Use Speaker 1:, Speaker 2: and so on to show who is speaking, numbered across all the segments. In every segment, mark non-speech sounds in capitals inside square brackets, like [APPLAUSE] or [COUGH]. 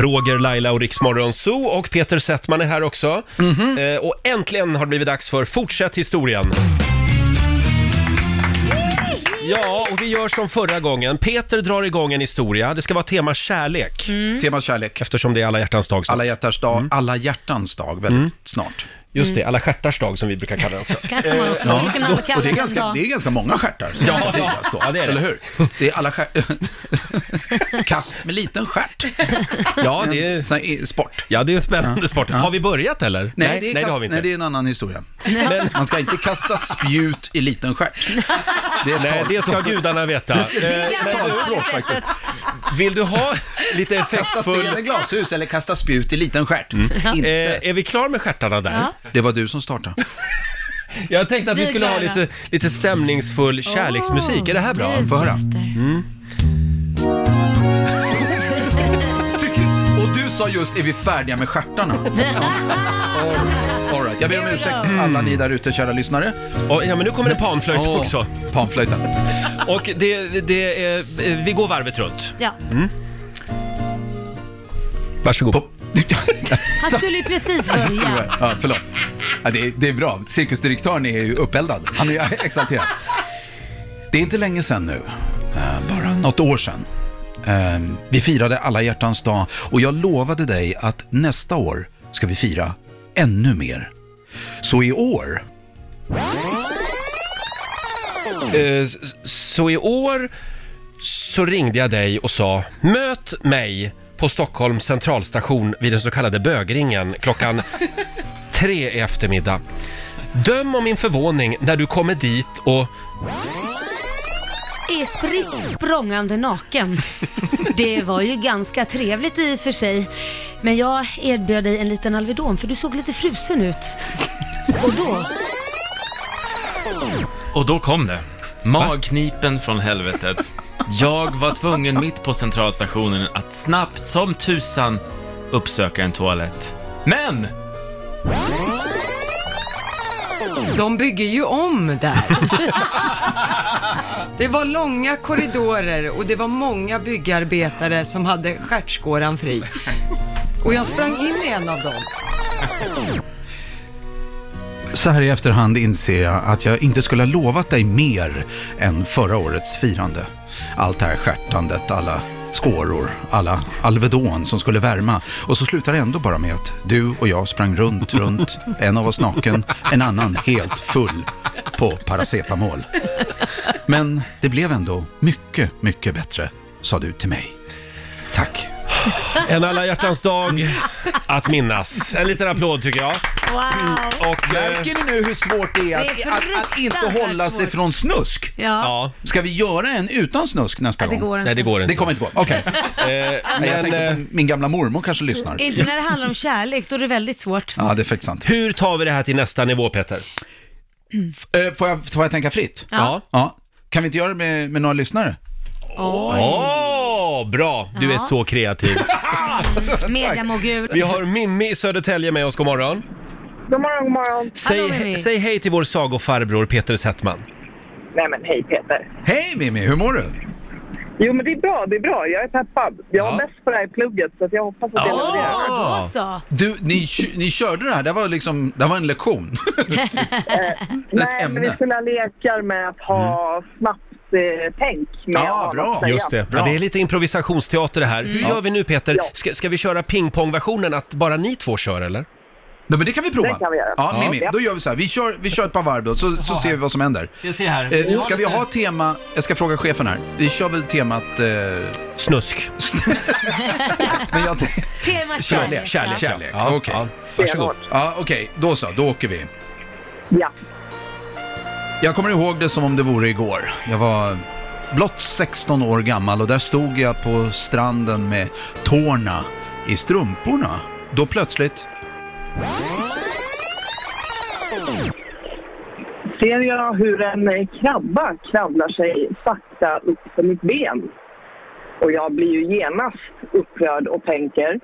Speaker 1: Roger, Laila och Riksmorgon Zoo och Peter Settman är här också. Eh, och äntligen har det blivit dags för Fortsätt historien. Ja, och vi gör som förra gången. Peter drar igång en historia. Det ska vara tema kärlek,
Speaker 2: Tema kärlek.
Speaker 1: eftersom det är alla hjärtans dag. snart.
Speaker 2: Alla hjärtans dag,
Speaker 1: Mm.
Speaker 2: alla hjärtans dag väldigt snart.
Speaker 1: Just det, alla stjärtars dag som vi brukar kalla det också.
Speaker 3: Kanske man också skulle kunna kalla
Speaker 2: Och det är
Speaker 3: den
Speaker 2: ganska,
Speaker 3: dag.
Speaker 2: det är ganska många stjärtar som
Speaker 1: Ja,
Speaker 2: ska
Speaker 1: ja.
Speaker 2: firas då.
Speaker 1: Ja, det är det.
Speaker 2: Eller hur? Det är alla stjärt- [LAUGHS] Kast med liten stjärt.
Speaker 1: Ja, det är,
Speaker 2: Sån här sport.
Speaker 1: ja, det är en spännande sport. Har vi börjat eller?
Speaker 2: Nej, det, är
Speaker 1: nej,
Speaker 2: kast,
Speaker 1: det har vi inte.
Speaker 2: nej, det är en annan historia. Man ska inte kasta spjut i liten stjärt. Det är
Speaker 1: Nej,
Speaker 2: tal-
Speaker 1: det ska gudarna veta.
Speaker 3: Det
Speaker 1: Eh,
Speaker 3: är gamla
Speaker 2: talspråk
Speaker 3: talesättet.
Speaker 1: vill du ha lite
Speaker 2: Kasta
Speaker 1: effektfull...
Speaker 2: sten i glashus eller kasta spjut i liten stjärt. Inte.
Speaker 1: Eh, är vi klar med stjärtarna där?
Speaker 3: Ja.
Speaker 2: Det var du som startade.
Speaker 1: Jag tänkte att vi
Speaker 3: Vi är
Speaker 1: skulle ha
Speaker 3: klara.
Speaker 1: lite, lite stämningsfull kärleksmusik. Är det här bra?
Speaker 3: Mm.
Speaker 2: Få höra. Och du sa just, är vi färdiga med stjärtarna? All, all right. Jag ber om ursäkt alla ni där ute, kära lyssnare.
Speaker 1: Och, ja, men nu kommer det panflöjt
Speaker 2: Åh,
Speaker 1: också.
Speaker 2: Panflöjten.
Speaker 1: Och det, det, är- eh, vi går varvet runt.
Speaker 3: Ja.
Speaker 1: Varsågod.
Speaker 2: På-
Speaker 3: Han skulle ju precis börja.
Speaker 2: [LAUGHS] ja, förlåt. Ja, det, är, det är bra. Cirkusdirektören är ju [LAUGHS] uppeldad. Han är exalterad. Det är inte länge sedan nu, eh, bara något år sedan. Eh, Vi firade alla hjärtans dag och jag lovade dig att nästa år ska vi fira ännu mer. Så i år
Speaker 1: Eh, s- s- så i år så ringde jag dig och sa möt mig på Stockholms centralstation vid den så kallade bögringen [LAUGHS] klockan tre i eftermiddag. Döm om min förvåning när du kommer dit och
Speaker 3: Är spritt språngande naken. Det var ju ganska trevligt i och för sig. Men jag erbjöd dig en liten Alvedon för du såg lite frusen ut. Och då,
Speaker 4: Och då kom det. Magknipen från helvetet. Jag var tvungen mitt på centralstationen att snabbt som tusan uppsöka en toalett. Men!
Speaker 5: De bygger ju om där. Det var långa korridorer och det var många byggarbetare som hade stjärtskåran fri. Och jag sprang in i en av dem.
Speaker 2: Så här i efterhand inser jag att jag inte skulle ha lovat dig mer än förra årets firande. Allt det här stjärtandet, alla skåror, alla Alvedon som skulle värma. Och så slutar det ändå bara med att du och jag sprang runt, runt, en av oss naken, en annan helt full på paracetamol. Men det blev ändå mycket, mycket bättre, sa du till mig. Tack.
Speaker 1: en alla hjärtans dag att minnas. En liten applåd tycker jag.
Speaker 3: wow.
Speaker 1: Och, eh,
Speaker 2: ni nu hur svårt det är
Speaker 3: att- Det är att- att inte fruktansvärt hålla sig svårt.
Speaker 2: från snusk?
Speaker 3: Ja,
Speaker 1: ja,
Speaker 2: Ska vi göra en utan snusk nästa
Speaker 3: det går
Speaker 1: nej det
Speaker 3: inte.
Speaker 1: går inte.
Speaker 2: Det kommer inte gå. Okej.
Speaker 1: Eh,
Speaker 2: Men jag
Speaker 1: men
Speaker 2: tänkte
Speaker 1: eh,
Speaker 2: på min gamla mormor kanske lyssnar.
Speaker 3: Inte när det handlar om kärlek, då är det väldigt svårt.
Speaker 2: Ja, det är faktiskt sant.
Speaker 1: hur tar vi det här till nästa nivå Peter?
Speaker 2: Eh, Får jag, får jag tänka fritt?
Speaker 1: Ja.
Speaker 2: Ja. Kan vi inte göra det med, med några lyssnare?
Speaker 3: Åh,
Speaker 1: Åh, bra! Du är
Speaker 3: Ja.
Speaker 1: så kreativ.
Speaker 3: mediamogul.
Speaker 1: Vi har Mimmi i Södertälje med oss, god morgon.
Speaker 6: God morgon, god morgon.
Speaker 1: Säg,
Speaker 3: Hallå, Mimmi.
Speaker 1: säg hej till vår sagofarbror Peter Settman.
Speaker 6: Nej men hej Peter.
Speaker 2: Hej Mimmi, hur mår du?
Speaker 6: Jo men det är bra, det är bra. Jag är peppad. Jag var
Speaker 1: Ja.
Speaker 6: bäst på det här i plugget så att jag hoppas att det
Speaker 1: Ja.
Speaker 6: levererar.
Speaker 3: Ja, då så.
Speaker 2: Du, ni, kö- ni körde det här, det var liksom, det var en lektion.
Speaker 6: Nej
Speaker 2: ämne.
Speaker 6: men vi skulle ha lekar med att ha snabbt eh, tänk. Med
Speaker 2: Ja,
Speaker 6: vad man
Speaker 2: bra.
Speaker 6: säger.
Speaker 1: Just det. Mm.
Speaker 2: Bra.
Speaker 1: Ja, det är lite improvisationsteater det här. Hur gör vi nu Peter?
Speaker 6: Ja.
Speaker 1: Ska, ska vi köra pingpongversionen att bara ni två kör eller?
Speaker 2: Nej, men det kan vi prova.
Speaker 6: Det kan vi göra.
Speaker 2: Ja,
Speaker 1: Ja.
Speaker 2: Mimmi, då gör vi så här. Vi kör, vi kör ett par varv då, så, så ser vi vad som händer.
Speaker 4: Jag ser här.
Speaker 2: Eh, ska vi ha tema, jag ska fråga chefen här. Vi kör väl temat, eh,
Speaker 1: Snusk.
Speaker 2: men jag tänk-
Speaker 3: Tema
Speaker 1: Kärlek.
Speaker 3: kärlek.
Speaker 1: Kärlek, ja.
Speaker 2: Kärlek,
Speaker 1: ja.
Speaker 2: okej.
Speaker 1: ja. Varsågod.
Speaker 6: Stenhårt.
Speaker 2: Ja, okej, då så, då åker vi.
Speaker 6: Ja.
Speaker 2: Jag kommer ihåg det som om det vore igår. Jag var blott 16 år gammal och där stod jag på stranden med tårna i strumporna. Då plötsligt...
Speaker 6: Ser jag hur en eh, krabba kravlar sig sakta upp på mitt ben. Och jag blir ju genast upprörd och tänker.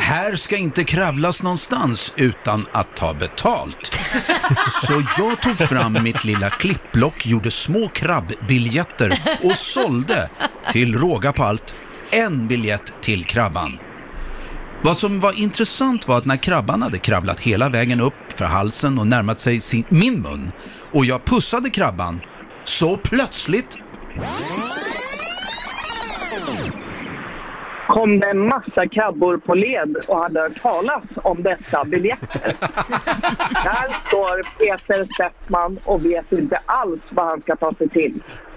Speaker 2: Här ska inte kravlas någonstans utan att ta betalt. Så jag tog fram mitt lilla klippblock, gjorde små krabbbiljetter och sålde, till råga på allt, en biljett till krabban. Vad som var intressant var att när krabban hade kravlat hela vägen upp för halsen och närmat sig sin, min mun och jag pussade krabban, så plötsligt
Speaker 6: kom det en massa krabbor på led och hade hört talas om
Speaker 2: [LAUGHS]
Speaker 6: dessa biljetter. Där står Peter Settman och vet inte alls vad han ska ta sig till.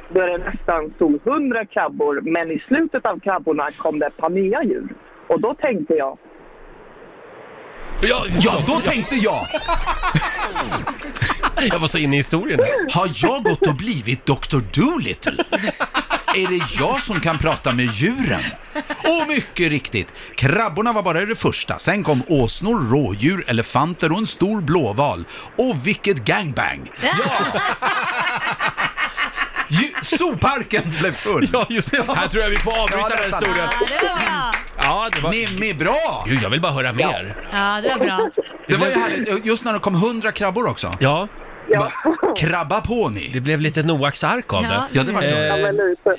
Speaker 6: Då är det nästan stod hundra krabbor, men i slutet av krabborna kom det ett par nya djur. Och då tänkte jag,
Speaker 1: Ja,
Speaker 2: Ja, då tänkte jag,
Speaker 1: jag var så inne i historien. här.
Speaker 2: har jag gått och blivit Dr.
Speaker 1: [LAUGHS]
Speaker 2: Dolittle? Är det jag som kan prata med djuren? Och mycket riktigt, krabborna var bara det första. Sen kom åsnor, rådjur, elefanter och en stor blåval. Och vilket gangbang! Ja! Ju- Zooparken blev full!
Speaker 1: Ja, just det. Här tror jag vi får avbryta
Speaker 2: Ja,
Speaker 1: den här
Speaker 2: nästan.
Speaker 1: historien.
Speaker 3: Ja, det var bra.
Speaker 1: Ja, det var...
Speaker 2: Mimmi, bra!
Speaker 1: Gud, jag vill bara höra mer.
Speaker 3: Ja, det var bra.
Speaker 2: Det var ju härligt, just när det kom hundra krabbor också.
Speaker 1: Ja,
Speaker 2: Va- Krabba på
Speaker 1: det Eh,
Speaker 2: ni!
Speaker 1: blev lite Noaks ark av det.
Speaker 3: Ja.
Speaker 2: Ja, det var det.
Speaker 6: ja men lite.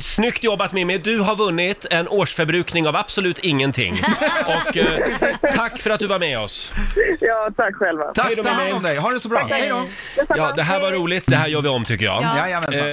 Speaker 1: Snyggt jobbat Mimmi! Du har vunnit en årsförbrukning av absolut ingenting. Och eh, tack för att du var med oss.
Speaker 6: Ja, tack själva.
Speaker 2: Tack,
Speaker 1: Hej då,
Speaker 2: ta hand
Speaker 1: Mimmi.
Speaker 2: om dig, ha det så bra! Hej då!
Speaker 1: Ja, det här var roligt. Det här gör vi om tycker jag.
Speaker 3: Ja.
Speaker 2: Jajamensan.